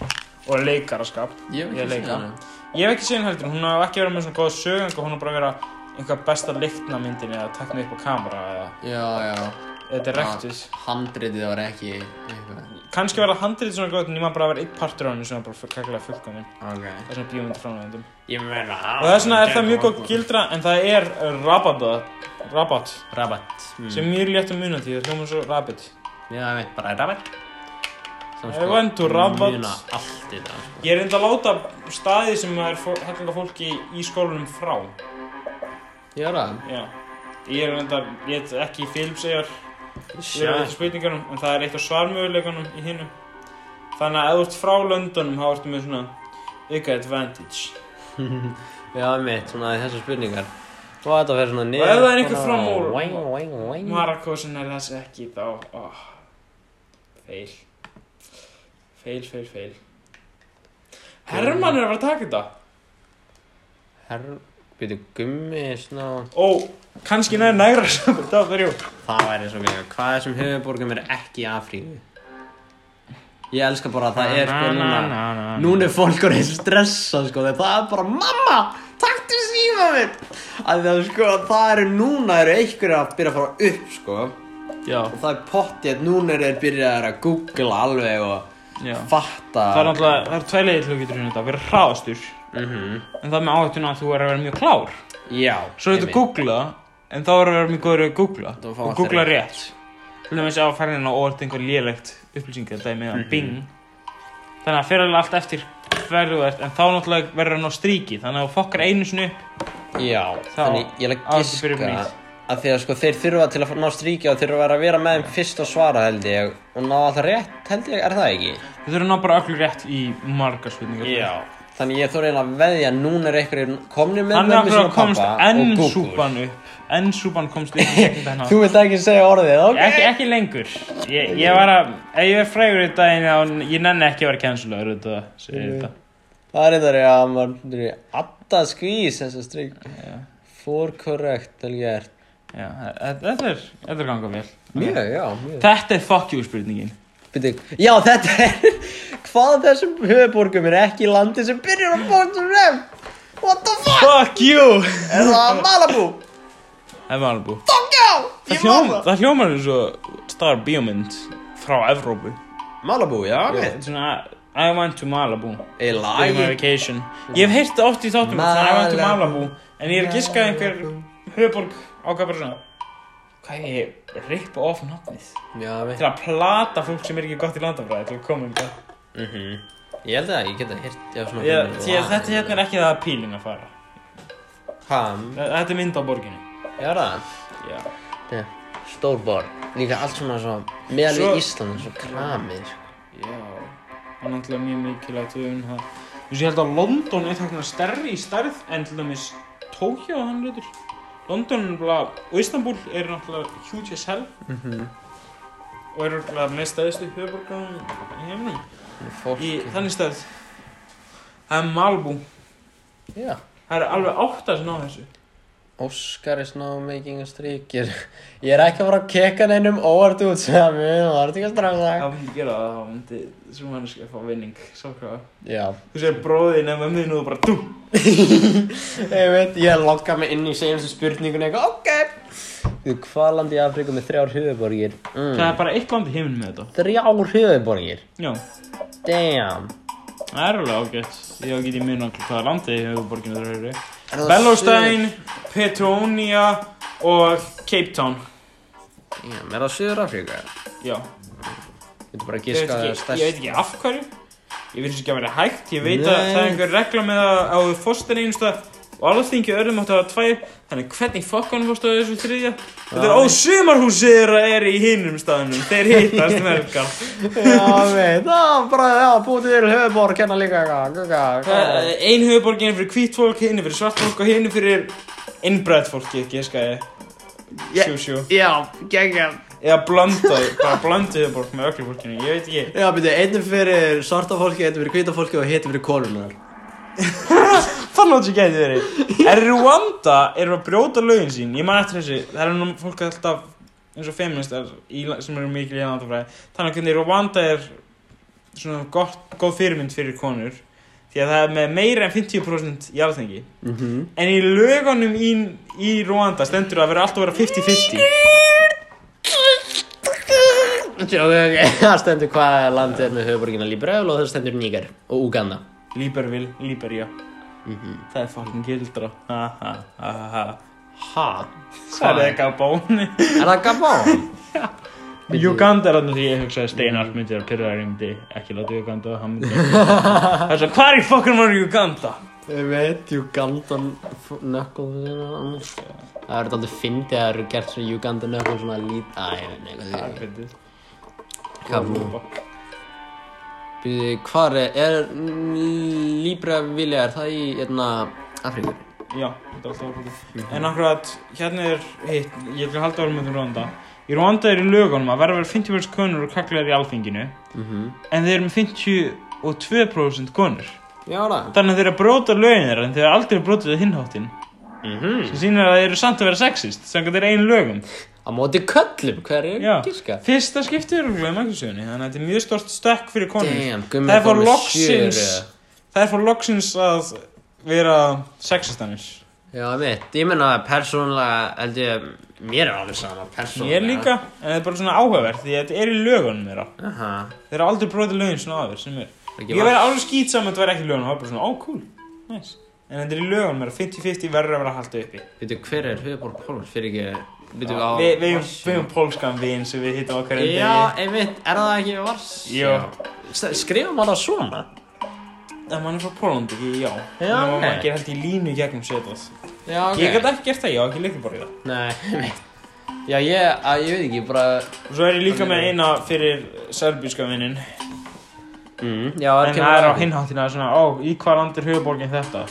Speaker 2: Og leikaraskap
Speaker 1: Ég hef
Speaker 2: Ég
Speaker 1: ekki
Speaker 2: leika.
Speaker 1: séð hana
Speaker 2: Ég hef ekki séð hann heldur Hún hafði ekki verið með svona góða sögang Hún hafði bara verið einhver besta lyktna myndin Eða tekna upp á kamera Eða
Speaker 1: Já, já Ah.
Speaker 2: þetta er rektis
Speaker 1: Handriðið var ekki eitthvað
Speaker 2: Kannski verða handrið svona góð En ég maður bara að vera eitt partur á henni Svona bara kaklega fullkomin
Speaker 1: Ok
Speaker 2: Það er svona bíómyndi framlegandum
Speaker 1: Ég meina
Speaker 2: Og þess vegna er það mjög góð gildra en það er uh, rabata, rabat,
Speaker 1: Rabat Mm.
Speaker 2: sem mér létt um muna því það hljóma svo rabbit.
Speaker 1: Já, ég veit, bara rabat Sem sko
Speaker 2: Ég veit, þú rabat.
Speaker 1: Muna allt í það sko.
Speaker 2: Ég er enda að láta staði sem er hellinga fólki í skólanum frá.
Speaker 1: Ég er það
Speaker 2: Já. Ég er enda, ég er ekki í filmsegjar, ég er ekki
Speaker 1: Sjá
Speaker 2: spurningunum, en það er eitt af svarmöguleikunum í hinnu. Þannig að ef þú ert frá Londonum, þá ertu með svona ykkar advantage.
Speaker 1: Já, ég veit, svona þessar spurningar Og þetta fer svona niður
Speaker 2: ef það er einhver frá Mór-
Speaker 1: Wang, wang, wang
Speaker 2: Marakó sem er þessi ekki þá, oh. Feil. Feil, feil, feil. Herman er að vera að taka þetta.
Speaker 1: Herr Býtu gummi, svona
Speaker 2: Ó, kannski næri nægra saman, það var jú.
Speaker 1: Það væri svo mjög Hvað er sem höfuborgum er ekki í Afríku? Ég elska bara að það er sko núna Núna er fólk orðið stressa sko þegar það er bara Mamma, takktu síma minn að það sko, það eru núna eru einhverju að byrja að fara upp sko og
Speaker 2: Já,
Speaker 1: það er pottið, núna eru þeir byrjað að googla alveg og
Speaker 2: já.
Speaker 1: fatta
Speaker 2: Það er náttúrulega, það er tvei leiðið til þú getur hérna þetta, að vera hraðastur.
Speaker 1: Mhm.
Speaker 2: En það er með áhættuna að þú er að vera mjög klár.
Speaker 1: Já,
Speaker 2: Svo getur
Speaker 1: einmitt.
Speaker 2: googlað, en þá er að vera mjög góður í að googla.
Speaker 1: Þú fá
Speaker 2: Og
Speaker 1: alltaf
Speaker 2: googla rétt. Þú veist að á ferðina og orðið einhver lélegt upplýsingar, það er með að bing. Þannig að fyrir alveg allt eftir hverju þú ert, en þá náttúrulega verður hann á stríki. Þannig að þú fokkar einu sinni upp,
Speaker 1: Já, þannig ég legg
Speaker 2: á þessu byrjum
Speaker 1: giska
Speaker 2: nýtt.
Speaker 1: að því að sko þeir þurfa til að ná stríkja og þurfa að vera með þeim fyrst og svara held ég og ná alltaf rétt held ég, er það ekki?
Speaker 2: þú þurfum að ná bara öllu rétt í margar spurningar.
Speaker 1: Þannig ég þurfa eiginlega að veðja að núna er einhverjir komnir með
Speaker 2: Hann er
Speaker 1: mömmu
Speaker 2: okkur
Speaker 1: sinni
Speaker 2: að
Speaker 1: og
Speaker 2: komst
Speaker 1: pabba og
Speaker 2: enn
Speaker 1: Google.
Speaker 2: súpan upp Enn súpan komst upp í gegnum þennan
Speaker 1: Þú vilt ekki segja orðið, ok?
Speaker 2: ekki, ekki lengur ég, ég var að Ef ég er frægur í daginn þá Ég nenni ekki að vera kjensulaður Þetta segir þetta
Speaker 1: Það er þetta, já, maður er alltaf skvís þessa strík. For correct, vel gert.
Speaker 2: Já, þe- Þetta er Þetta er ganga vel
Speaker 1: Mjög, já, mjög.
Speaker 2: Þetta er fuck you spurningin
Speaker 1: Byrju, já, þetta er, hvað af þessum höfuborgum er ekki landi sem byrjar á bóttum rem? What the fuck?
Speaker 2: Fuck you
Speaker 1: Er það Malibu?
Speaker 2: Það er Malibu
Speaker 1: Fuck já,
Speaker 2: Það
Speaker 1: ég má
Speaker 2: hljóm-
Speaker 1: það.
Speaker 2: það hljómar eins og Star Biomynd Frá Evrópu
Speaker 1: Malibu, já,
Speaker 2: Þetta er Svona I went to Malibu
Speaker 1: Ég
Speaker 2: During my
Speaker 1: lagi.
Speaker 2: vacation Ég hef heyrt það oft í þáttum Þannig I went to Malibu En ég er að giska að einhver höfuborg ákvað bara svona Hvað er ég að rippa of nafnið?
Speaker 1: Já, við.
Speaker 2: Til að plata fólk sem er ekki gott í landafræði til að koma um það
Speaker 1: Mhm. Ég held að ég geta hirt, já, svona.
Speaker 2: Ég- Því að þetta hérna er ekki það að píling að fara
Speaker 1: Ham,
Speaker 2: Þe- Þetta er mynd á borginni.
Speaker 1: er það?
Speaker 2: Já.
Speaker 1: Nei, stór borg. Líka allt svona svo, meðal
Speaker 2: Svo-
Speaker 1: við Ísland, svo kramið, sko.
Speaker 2: Já. Það er náttúrulega mjög mikilvægt við um það. Þú veist, ég held að London er þarna stærri í stærð en til dæmis Tókjá og hann hlutur. London er náttúrulega, og Istanbul er náttúrulega huge as hell
Speaker 1: Mhm.
Speaker 2: og er náttúrulega með stæðistu höfuborgarna í heiminum.
Speaker 1: Fólk.
Speaker 2: Í þannig stæð. Það er Malbú.
Speaker 1: Já.
Speaker 2: Það eru alveg átta sem ná þessu.
Speaker 1: Óskar is now making a streak. Ég er- Ég er ekki að fara að keka neinum óvart út sem við, það er ekki að strafa
Speaker 3: Það
Speaker 1: það.
Speaker 3: myndi gera það, það myndi sem manneskja fá vinning, sákvæða.
Speaker 1: Já.
Speaker 3: Þú segir bróðin eða mömmuðin og þú bara dú.
Speaker 1: Ég veit, ég logga mig inn í segjumstu spurningun eitthvað, ok. Þú, hvað landi í Afríku með þrjár höfuborgir?
Speaker 2: Það
Speaker 1: Mm.
Speaker 2: er bara eitt land í heiminum með þetta.
Speaker 1: Þrjár höfuborgir?
Speaker 2: Já,
Speaker 1: Damn.
Speaker 2: það er alveg ágætt. Ég á ekki í minn okkur hvaða landi í höfuborginu það eru.
Speaker 1: Er það
Speaker 2: Bellostein, Petronia og Cape Town.
Speaker 1: suður- Damn, er það Suður Afríka?
Speaker 2: Já,
Speaker 1: Þú getur bara að
Speaker 2: ég veit,
Speaker 1: giska að það er
Speaker 2: ekki, ég veit
Speaker 1: stærst.
Speaker 2: ekki af hverju. Ég veit ekki að vera hægt. Ég veit að
Speaker 1: Nei.
Speaker 2: það er einhver regla með að á fórstan einu stað og alþingi öðrum áttu að hafa tvær. Þannig hvernig fokkanum fórstu á þessu þriðja? Þetta er
Speaker 1: Já.
Speaker 2: ó, sumarhúsið þeirra er í hinnum staðunum. Þeir hittast mergar.
Speaker 1: Já, veit, það, bara, já, búið til höfuborg hérna líka, eitthvað, eitthvað,
Speaker 2: Það
Speaker 1: eitthvað.
Speaker 2: er ein höfuborg hérna fyrir hvít fólk, hérna fyrir svart fólk og hérna fyrir innbræð fólki, ekki ég skæði.
Speaker 1: Ég-
Speaker 2: Sjú, sjú.
Speaker 1: Já, geggjum.
Speaker 2: Eða blönda, bara blönda höfuborg með öllu fólkinu, ég veit ekki.
Speaker 1: Já, byrju, einu fyrir svarta fólki, einu fyrir hvita fólki og hitt fyrir konunar.
Speaker 2: Það lóti gæti verið. Er Rwanda, eru að brjóta lögin sín, ég man eftir þessu, það er nú fólk alltaf eins og feministar í, la- sem eru mikil í landafræði. Þannig að hvernig Rwanda er svona gott, góð fyrirmynd fyrir konur, því að það er með meira en 50% í alþengi.
Speaker 1: Mhm. Mm
Speaker 2: En í lögunum í, í Rwanda stendur það að vera alltaf að vera 50-50
Speaker 1: Það stendur hvað landið er með höfuborgina Libreville og það stendur Níger og Uganda.
Speaker 2: Líberville, Líberja
Speaker 1: Mhm.
Speaker 2: Það er fucking gildra Ha ha ha ha ha
Speaker 1: Ha?
Speaker 2: Það er ekki á bóni
Speaker 1: Er það Gabon?
Speaker 2: Uganda er þannig því ég hugsaði Steinar myndi að pyrra þær ég myndi ekki láta Uganda hann myndi Það er svo hvað er í fokkunum var Uganda?
Speaker 1: Ég veit, Uganda knuckles Það verður aldrei fyndið að það eru gert svona Uganda knuckles svona lít... Æ, ég veit neitt
Speaker 2: Það
Speaker 1: hvað
Speaker 2: er
Speaker 1: því.
Speaker 2: fyrir
Speaker 1: Kabú. Býðu, hvað er, er Libreville, er það í, hérna, Afríku?
Speaker 2: Já, þetta er alltaf ákvæmlega. En akkurat, hérna er hitt, ég ætla að halda árum með Rwanda. Í Rwanda er í lögunum að verða verið 50% konur og kaklegar í alþinginu,
Speaker 1: Mhm.
Speaker 2: en þeir eru með 52% konur.
Speaker 1: Já, það.
Speaker 2: Þannig að þeir eru að bróta lögin þeirra, en þeir eru aldrei að bróta það hinnháttin.
Speaker 1: Mhm.
Speaker 2: Sem sýnir að þeir eru samt að vera sexist, sem þeir eru einu lögum.
Speaker 1: Á móti köllum, hver er
Speaker 2: Já.
Speaker 1: gíska?
Speaker 2: Fyrsta skiptið er okkur í mækjusögunni, þannig að þetta er mjög stort stökk fyrir konur.
Speaker 1: Damn,
Speaker 2: Það
Speaker 1: gummi
Speaker 2: er fór loksins, það er fór loksins að vera sexistanir.
Speaker 1: Já, mitt, ég menna persónulega held ég, mér er alveg sama persónulega.
Speaker 2: Ég líka, en það er bara svona áhugavert, því að þetta er í lögunum þeirra.
Speaker 1: Aha,
Speaker 2: Þeir eru aldrei brotið lögin svona aður sem er
Speaker 1: ekki
Speaker 2: Ég verði alveg skýt saman að þetta væri ekki lögin og það er bara svona, ó, cool, nice En þetta er í lögum meira, 50-50 verður að vera haldið uppi
Speaker 1: Veitu, hver er höfuborg Pólund fyrir ekki, veitu, á...
Speaker 2: Við vi eigum vi eigum pólskan vin sem við hittum okkar
Speaker 1: Já, einmitt, er það ekki vars?
Speaker 2: Jú.
Speaker 1: Skrifum hann það svona?
Speaker 2: En mann er frá Pólund, ekki, já
Speaker 1: Já,
Speaker 2: Nú,
Speaker 1: ok.
Speaker 2: maður gerir held í línu í gegnum setað
Speaker 1: Já, ok.
Speaker 2: Ég get ekki gert það, ég á ekki leikið bara í það
Speaker 1: Nei, einmitt. Já, ég, að, ég veit ekki, bara...
Speaker 2: Og svo er ég líka með eina fyrir serbíska vinnin
Speaker 1: Mm, já,
Speaker 2: En það er á hinháttina svona, ó, í hvað land er höfuborgin þetta?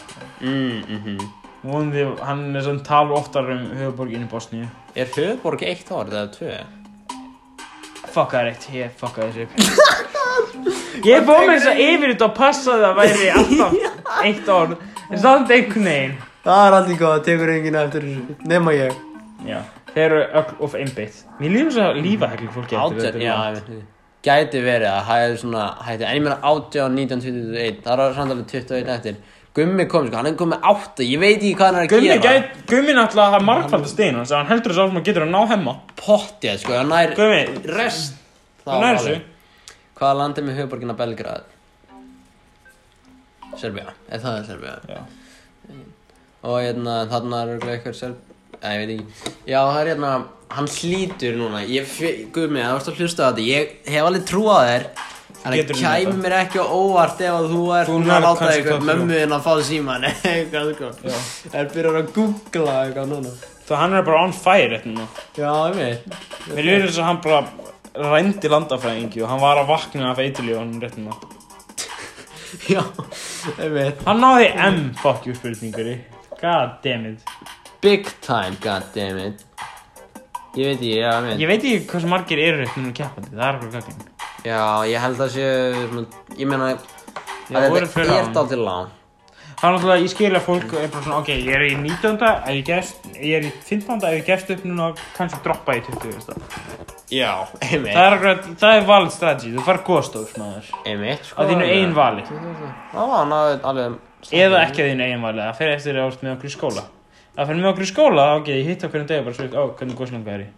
Speaker 1: Mm, mhm.
Speaker 2: Vonandi, hann er svona tala oftar um höfuborgin í Bosníu
Speaker 1: Er höfuborg eitt orð eða tvö?
Speaker 2: Fuck það er eitt, ég fucka þessu upp Ég fór með þess að yfir þetta og passaði að væri alltaf eitt orð En samt einhvern veginn
Speaker 1: Það er aldrei góð, tekur enginn eftir þessu, nema ég.
Speaker 2: Já, þeir eru öll of einbeitt Mér lífum svo að lífa hekli fólki eftir
Speaker 1: Átján,
Speaker 2: þetta
Speaker 1: já, ég veit ekki. Gæti verið að það er svona hætti, en ég meina 18, 19, 21, það er samt alveg 21 eftir. Gummi kom, sko, hann er komið 8, ég veit ekki hvað hann er að
Speaker 2: Gummi,
Speaker 1: gera.
Speaker 2: gæt, Gummi náttúrulega hafa margfaldast stein hans Hann heldur þess að hann getur að ná hemma
Speaker 1: Pottið, sko, hann nær
Speaker 2: Gummi,
Speaker 1: rest. Það
Speaker 2: hann
Speaker 1: var
Speaker 2: er þessu
Speaker 1: alveg. Hvaða landið með höfuborgina Belgrad? Serbia, er það Serbia?
Speaker 2: Já.
Speaker 1: Og hérna, þarna er örugglega eitthvað Serb... Nei, ég veit ekki. Já, það er hérna, hann hlýtur núna. Ég, fe- Gummi, það varst að hlusta á þetta. Ég hef alveg trú á þér. Þannig
Speaker 2: Getur
Speaker 1: að
Speaker 2: þú
Speaker 1: kæmi
Speaker 2: notað?
Speaker 1: mér ekki á óvart ef að þú er
Speaker 2: Þú
Speaker 1: búin að
Speaker 2: nærð
Speaker 1: láta
Speaker 2: kannski
Speaker 1: eitthvað
Speaker 2: það
Speaker 1: mömmu þinn að fá síman eitthvað sko.
Speaker 2: Já.
Speaker 1: Það er byrjar að googla eitthvað núna.
Speaker 2: Þú hann er bara on fire eftir núna.
Speaker 1: Já, ég veit.
Speaker 2: Mér er þess að hann bara rændi landafræðingi og hann var að vakna af eitilíðunum rétt núna.
Speaker 1: Já, ég veit.
Speaker 2: Hann náði M fuck you spurningur í. God damn it.
Speaker 1: Big time, goddammit. Ég veit ég, já, ég veit.
Speaker 2: Ég veit ekki hversu margir eru rétt núna keppandi, það er okkur kakkin.
Speaker 1: Já, ég held að sé, svona, ég meina að
Speaker 2: Já, voru
Speaker 1: þetta
Speaker 2: fyrir
Speaker 1: er
Speaker 2: án.
Speaker 1: dálítið lán.
Speaker 2: Það er náttúrulega, ég skilja fólk er bara svona, ok, ég er í 19. ef ég gefst, ég er í 15. ef ég gefst upp núna, kannski droppa ég í 20. veist það.
Speaker 1: Já, ég
Speaker 2: Það
Speaker 1: veit.
Speaker 2: er okkur, það er valid strategy, þú far góðstofs maður.
Speaker 1: Ég veit, sko.
Speaker 2: Á þínu eigin vali.
Speaker 1: Já, hann hafði alveg...
Speaker 2: Eða ekki að þínu eigin valið, það fer eftir að þú ert með okkur í skóla. Það fer með okkur í skóla, þá get ég hitt okkur um degi bara svolítið, ó, hvernig góðslanga er ég?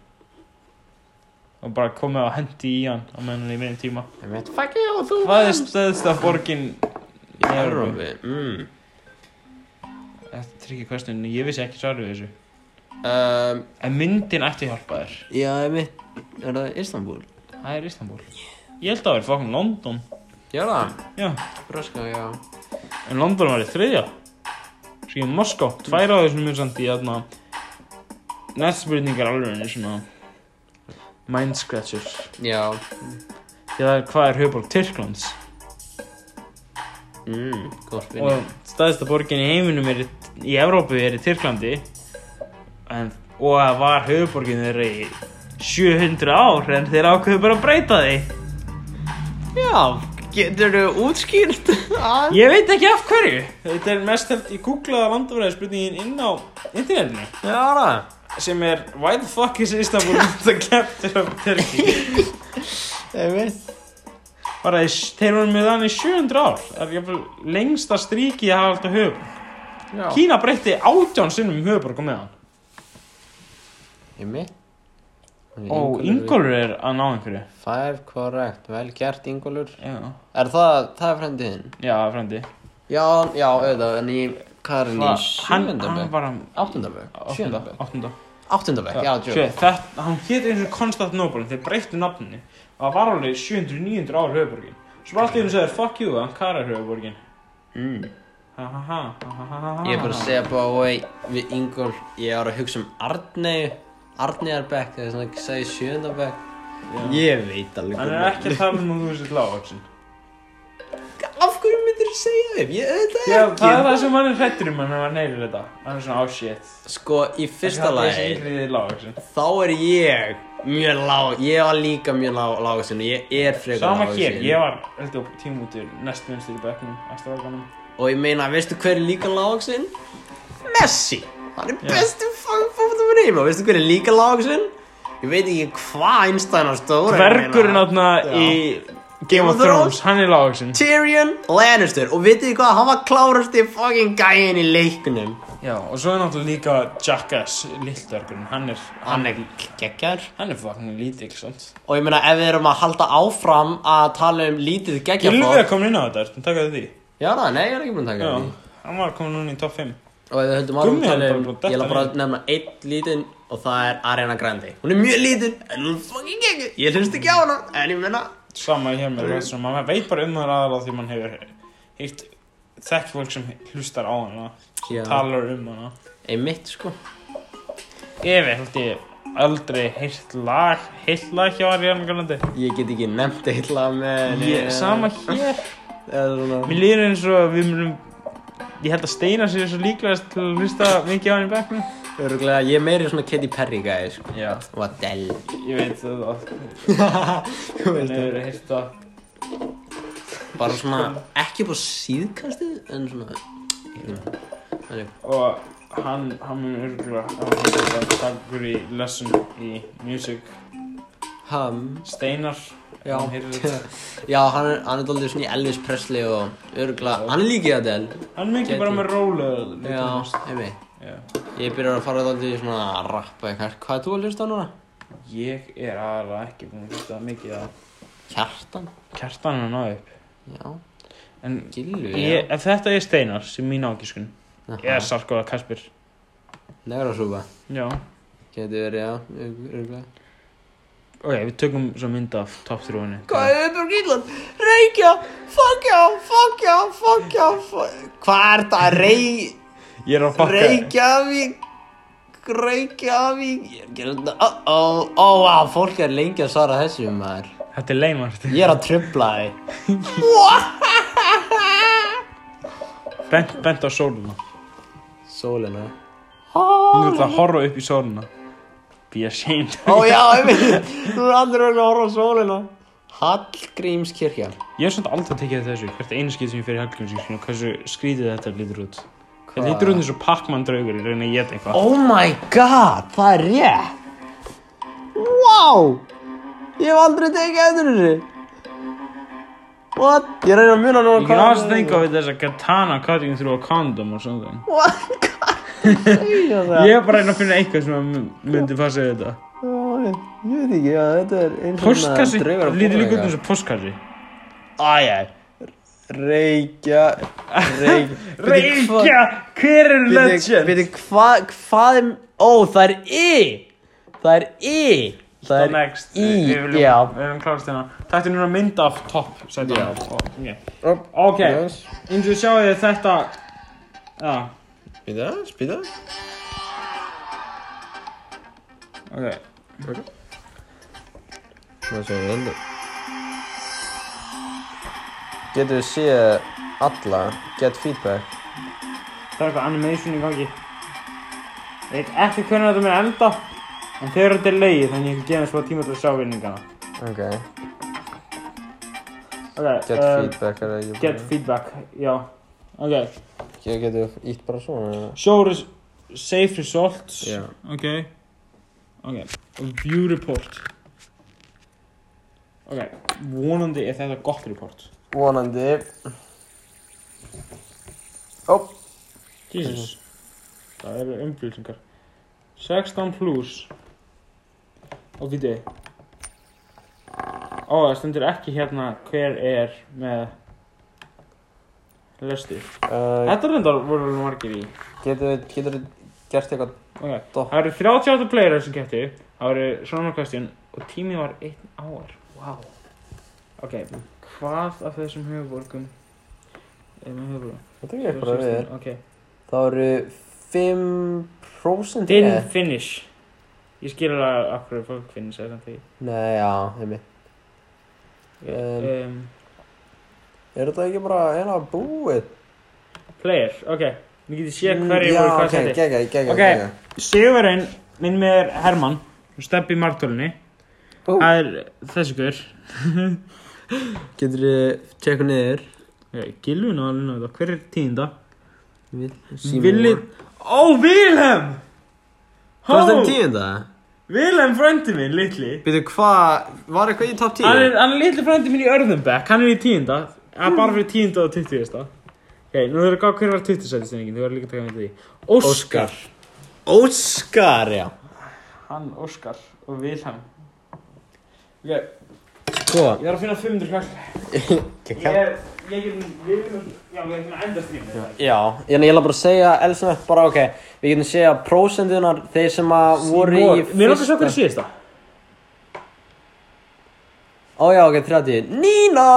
Speaker 2: Og bara komið og hendi í hann á meðan hann er í minni tíma.
Speaker 1: Ég veit, fuck you, þú
Speaker 2: Hvað er stöðsta borgin í
Speaker 1: Í
Speaker 2: Európu?
Speaker 1: Európi, mm.
Speaker 2: Þetta er tricky question, ég vissi ekki svarið við þessu.
Speaker 1: Um,
Speaker 2: En myndin ætti að hjálpa þér.
Speaker 1: já, ég veit, er það Istanbul?
Speaker 2: Það er Istanbul. Ég held að það væri fokkin London.
Speaker 1: Já, það,
Speaker 2: Já,
Speaker 1: Braska, já.
Speaker 2: en London var í þriðja. Svo ég Moskó, tvær á þessum mjög samt í aðna. Næsta spurning er alveg henni svona mind scratchers.
Speaker 1: Já,
Speaker 2: Því það er hvað er höfuborg Tyrklands
Speaker 1: mm, góð spilning.
Speaker 2: og staðista borgin í heiminum er í, í Evrópu er í Tyrklandi en, og það var höfuborgin þeirra í 700 ár en þeir ákveðu bara að breyta því.
Speaker 1: Já, getur þú útskýrt? að-
Speaker 2: Ég veit ekki af hverju. Þetta er mest held ég googlaða landafræðarspurningin inn á internetinu.
Speaker 1: já, það.
Speaker 2: sem er Why the fuck is Istanbul not the capital of Turkey?
Speaker 1: Ég veit.
Speaker 2: Bara í- þeir voru með þannig 700 ár Það er jafnvel lengsta stríki að hafa alltaf höfuborg
Speaker 1: Já.
Speaker 2: Kína breytti átján sinnum um höfuborg og meðan
Speaker 1: Ég veit.
Speaker 2: Og Ingólfur er að ná einhverju
Speaker 1: Five correct, vel gert Ingólfur.
Speaker 2: Já,
Speaker 1: Er það, það er frendiðinn?
Speaker 2: já frendi
Speaker 1: Já, já, auðvitað, en ég, hvað er hann í
Speaker 2: Hann hann var
Speaker 1: sjöndabögg?
Speaker 2: bara
Speaker 1: Áttundabögg? Sjöndabögg?
Speaker 2: Áttunda
Speaker 1: Áttundabögg, já,
Speaker 2: Sjö,
Speaker 1: djók.
Speaker 2: þetta, Hann hétt eins og Konstantinopolin Þeir breyttu nafninu Og það var alveg 700-900 ár höfuborgin Svo var alltaf einu segir Fuck you, hann karar höfuborgin
Speaker 1: Mm.
Speaker 2: Ha ha ha ha ha ha ha
Speaker 1: Ég er bara að segja bara, oi, við Ingólf, ég var að hugsa um Arnei, Arneiarbekk, það er svona, segi sjöndabögg. Ég veit alveg
Speaker 2: Hann er ekki að tala um að þú sér lág, Axel.
Speaker 1: Af hverju myndir þú segja þeim? Ég veit það
Speaker 2: Já,
Speaker 1: ekki.
Speaker 2: það er það sem hann er hrettur um hann ef hann heyrir þetta. Hann er svona, oh shit.
Speaker 1: Sko, í fyrsta
Speaker 2: Það er
Speaker 1: lagi,
Speaker 2: svona lág, Axel.
Speaker 1: þá er ég mjög lág, ég var líka mjög lág, lágusinn og ég er frekar
Speaker 2: Sama hér,
Speaker 1: lágusinn.
Speaker 2: ég var, held ég, tíma út í næst vinstir í bekknum, að strákanum.
Speaker 1: Og ég meina, veistu hver er líka lágusinn? Messi! Hann er bestu fangfóttum í heima, veistu hver er líka lágusinn? Ég veit ekki hvað Einstein á stóra
Speaker 2: Vergurinn átna í Game of Thrones, hann er lág, Axel.
Speaker 1: Tyrion Lannister og vitið þið hvað, hann var klárasti fucking gæin í leikunum
Speaker 2: Já, og svo er náttúrulega líka Jackass, lilldörgurinn, hann er,
Speaker 1: Hann er geggjar
Speaker 2: hann er fucking lítill, sant?
Speaker 1: Og ég meina ef við erum að halda áfram að tala um lítið geggjar
Speaker 2: Gylfi er komin inn á þetta, þannig taka þetta því.
Speaker 1: Já, na, nei, ég er ekki búinn að taka
Speaker 2: Já,
Speaker 1: því
Speaker 2: hann var komin núna í topp 5.
Speaker 1: Og ef við höldum áfram
Speaker 2: Gummi
Speaker 1: að tala
Speaker 2: er bara
Speaker 1: um
Speaker 2: búinn að detta
Speaker 1: Ég er bara
Speaker 2: niður.
Speaker 1: að nefna einn lítinn og það er Ariana Grande Hún er mjög lítinn en hún er fucking geggjar Ég hlust ekki á hana en ég meina
Speaker 2: Sama hér með þessum, maður veit bara um það aðalega því mann hefur hýrt þekk fólk sem hlustar á hana,
Speaker 1: Já.
Speaker 2: talar um hana.
Speaker 1: Einmitt sko
Speaker 2: Ef ég held ég aldrei heyrt lag, heilt lag hjá Ariana Grande.
Speaker 1: Ég get ekki nefnt eitthvað með
Speaker 2: Ég, sama hér.
Speaker 1: Eða svona
Speaker 2: Mér líður eins og við munum, ég held að Steinar sér svo líklegast til að hlusta mikið á hann í bekknum.
Speaker 1: Örugglega, Ég er meiri svona Katy Perry gæði sko
Speaker 2: Já.
Speaker 1: Og Adele
Speaker 2: Ég veit það að
Speaker 1: Þú veist
Speaker 2: hann hefur heyrt það.
Speaker 1: bara svona ekki upp á síðkastið en svona hérna. Þannig,
Speaker 2: Og hann, hann mun örgulega, hann hefur þetta takkur í lesson í music.
Speaker 1: ham
Speaker 2: Steinar,
Speaker 1: já
Speaker 2: hann heyrir þetta.
Speaker 1: já hann er, hann er daldið svona í Elvis Presley og örgla hann er líkið að del
Speaker 2: Hann er mikið
Speaker 1: Gæti.
Speaker 2: bara með róla
Speaker 1: já heimi
Speaker 2: Já.
Speaker 1: ég byrjar að fara daldið svona að rappa eitthvað hvað er þú að hlusta á núna
Speaker 2: Ég er aðra ekki búin að hlusta mikið að
Speaker 1: Kjartan
Speaker 2: Kjartan er að ná upp
Speaker 1: já
Speaker 2: En
Speaker 1: Gilvi
Speaker 2: ég, ef þetta er Steinar sem mín ágiskun Ég er
Speaker 1: yes
Speaker 2: Sarko eða Kasper
Speaker 1: negra súpa
Speaker 2: Já
Speaker 1: getur verið já örgla
Speaker 2: ok, við tökum svo mynd af top 3-unni
Speaker 1: Hvað er þetta á Grínland? Reykja, fokkja, fokkja, fokkja, fokkja Hvað er þetta? Rey...
Speaker 2: Ég er að fokka
Speaker 1: Reykjavík Reykjavík Ég er að gera þetta Ó, ó, ó, á, fólk er lengi að svara þessu maður
Speaker 2: Þetta er leimart
Speaker 1: Ég er að trubla þig
Speaker 2: Bent, bent á sóluna
Speaker 1: Sólina
Speaker 2: Þú ert að horfa upp í sóluna Be ashamed
Speaker 1: Ó já, ég veit Nú er andur að horfa á sólina Hallgrímskirkja
Speaker 2: Ég hef svona aldrei tekið eftir þessu Hvert einu skil sem ég fyrir Hallgrímskirkjun og hversu skrítið þetta lítur út Þetta
Speaker 1: Hvað?
Speaker 2: lítur út eins og Pac-Man draugur í rauninni að geta eitthvað
Speaker 1: Oh my god, það er rétt Wow Ég hef aldrei tekið eftir þessu What? Ég reyna að muna núna
Speaker 2: You can also think of it as a katana cutting through a condom or something
Speaker 1: What? Hvað er það?
Speaker 2: Ég hef bara reyna að finna eitthvað sem að mun- myndi passa við þetta
Speaker 1: Já, Ég ég veit ekki, já, þetta er eins
Speaker 2: Postkassi, lítur líka út eins og postkassi
Speaker 1: Æjæ Reykja Reykja Bíddu, hva-
Speaker 2: Reykja, hver er
Speaker 1: bíddu,
Speaker 2: legend?
Speaker 1: Bíddu, hvað, hvað er Ó, það er I Það er I Það
Speaker 2: Það
Speaker 1: er
Speaker 2: er next
Speaker 1: Í,
Speaker 2: Við viljum-
Speaker 1: já
Speaker 2: Við erum klárast hérna Þetta er núna mynd af topp sætum.
Speaker 1: Já.
Speaker 2: Ok. Ok, eins og sjáu þið þetta Já,
Speaker 1: Spýta, spýta
Speaker 2: ok
Speaker 1: Það sé við endur Getur við séð alla Get feedback
Speaker 2: Það er eitthvað animation í gangi Ég veit ekki hvernig þetta mun enda En þegar þetta er leiði þannig ég vil gefa mér svo tíma til að sjá vinningana
Speaker 1: Ok,
Speaker 2: Ok,
Speaker 1: get
Speaker 2: eh,
Speaker 1: feedback er það ekki
Speaker 2: get
Speaker 1: bara-
Speaker 2: feedback, já Ok,
Speaker 1: Ég getur ítt bara svona eða?
Speaker 2: show res safe results
Speaker 1: Já
Speaker 2: Ok Ok, view report Ok, vonandi er þetta gott report
Speaker 1: Vonandi Ó,
Speaker 2: Jesus Það eru umflýtingar 16 pluss Og við þið Ó, það stendur ekki hérna hver er með Lestu
Speaker 1: uh,
Speaker 2: Þetta reyndar voru alveg margir í
Speaker 1: getur getur gert eitthvað
Speaker 2: Ok
Speaker 1: Dopp.
Speaker 2: Það eru 38 player sem kæfti Það eru svona question Og tími var 1 ár Wow Ok, hvað af þessum höfuborgum Er með höfuborgum?
Speaker 1: Þetta er ekki bara við þér
Speaker 2: Ok
Speaker 1: Það eru 5%
Speaker 2: Didn't
Speaker 1: eða-
Speaker 2: finish Ég skil alveg af hverju fólk finish er samt því
Speaker 1: Nei, já, heimi um,
Speaker 2: um,
Speaker 1: Er þetta ekki bara eina búið?
Speaker 2: Players, ok Við getum séð
Speaker 1: Mm,
Speaker 2: hverju voru hvað
Speaker 1: okay,
Speaker 2: seti
Speaker 1: gegga, gegga,
Speaker 2: Ok. Sigurinn minn með er Herman Steppi Martólni
Speaker 1: Ú.
Speaker 2: Það er þessi guður
Speaker 1: Getur þið tjekka niður
Speaker 2: Gilvin á alveg náttúrulega Hver er tíðinda?
Speaker 1: Vil-
Speaker 2: Vili Ó, Vilhelm
Speaker 1: Hvað er þetta
Speaker 2: Hó,
Speaker 1: tíunda?
Speaker 2: Vilhelm frændi minn, litli
Speaker 1: Býtu, hvað, var eitthvað í top 10?
Speaker 2: Hann er, hann er litli frændi minn í Örðumbekk, hann er í tíunda Það er bara fyrir tíunda og tuttíðasta Ok, nú þurfum við að gá hver var tuttíðsætistenningin, þú verður líka að taka með því
Speaker 1: Óskar
Speaker 2: Óskar
Speaker 1: Óskar, já
Speaker 2: Hann, Óskar og Vilhelm Ok, ég
Speaker 1: Sko,
Speaker 2: þarf að finna 500 kall
Speaker 1: gegga
Speaker 2: Ég, ég get, við erum, já, við erum að enda strímið
Speaker 1: Já, ég ég ætla bara að segja elsnögt bara ok, við getum segja prósendunar þeir sem að voru í
Speaker 2: Mér er okkur svo hverju síðasta
Speaker 1: Ó já, ok, 30 Nína,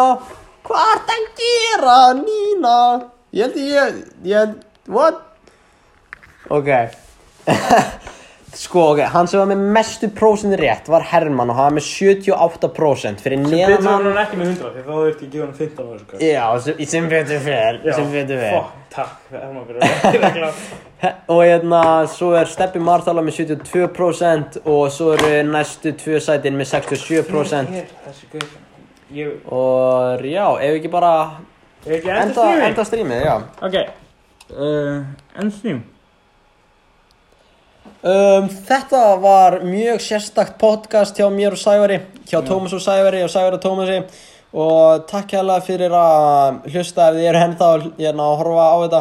Speaker 1: hvað ert að gera, Nína? Ég held ég, ég held, what? Ok Sko, ok, hann sem var með mestu prósendur rétt var Herman og hann var með 78% fyrir
Speaker 2: Þetta
Speaker 1: neðan
Speaker 2: var
Speaker 1: hann
Speaker 2: hann ekki með 100, því þá þurfti ég að gefa hann 15 á þessu kall
Speaker 1: Já, sem sem betur fer, sem betur fer
Speaker 2: Fuck, takk, Herman, fyrir að vera glad
Speaker 1: Og hérna, svo er Steppi Martala með 72% og svo eru næstu tvö sætin með 67%
Speaker 2: Hér, þessi guður Ég,
Speaker 1: Og já, ef ekki bara
Speaker 2: ég ekki enda
Speaker 1: enda,
Speaker 2: strímið
Speaker 1: enda strímið, já
Speaker 2: Ok, uh, enn þrjum
Speaker 1: um, Þetta var mjög sérstakt podcast hjá mér og Sævari hjá Tómas og Sævari og Sævari og Tómasi og takk hérlega fyrir að hlusta ef þið eru hennið þá hérna að horfa á þetta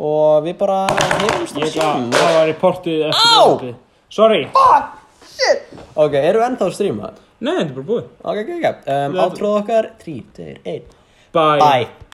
Speaker 1: og við bara heyrumst
Speaker 2: Ég
Speaker 1: og
Speaker 2: ætla að
Speaker 1: sjáum
Speaker 2: það var reportið eftir
Speaker 1: Á!
Speaker 2: reportið. Sorry
Speaker 1: Ok, eru ennþá að stríma?
Speaker 2: Nei, þetta er bara búið
Speaker 1: Ok, ok, ok um,
Speaker 2: Þetta-
Speaker 1: Átróð okkar, 3, 2, 1
Speaker 2: Bye
Speaker 1: Bye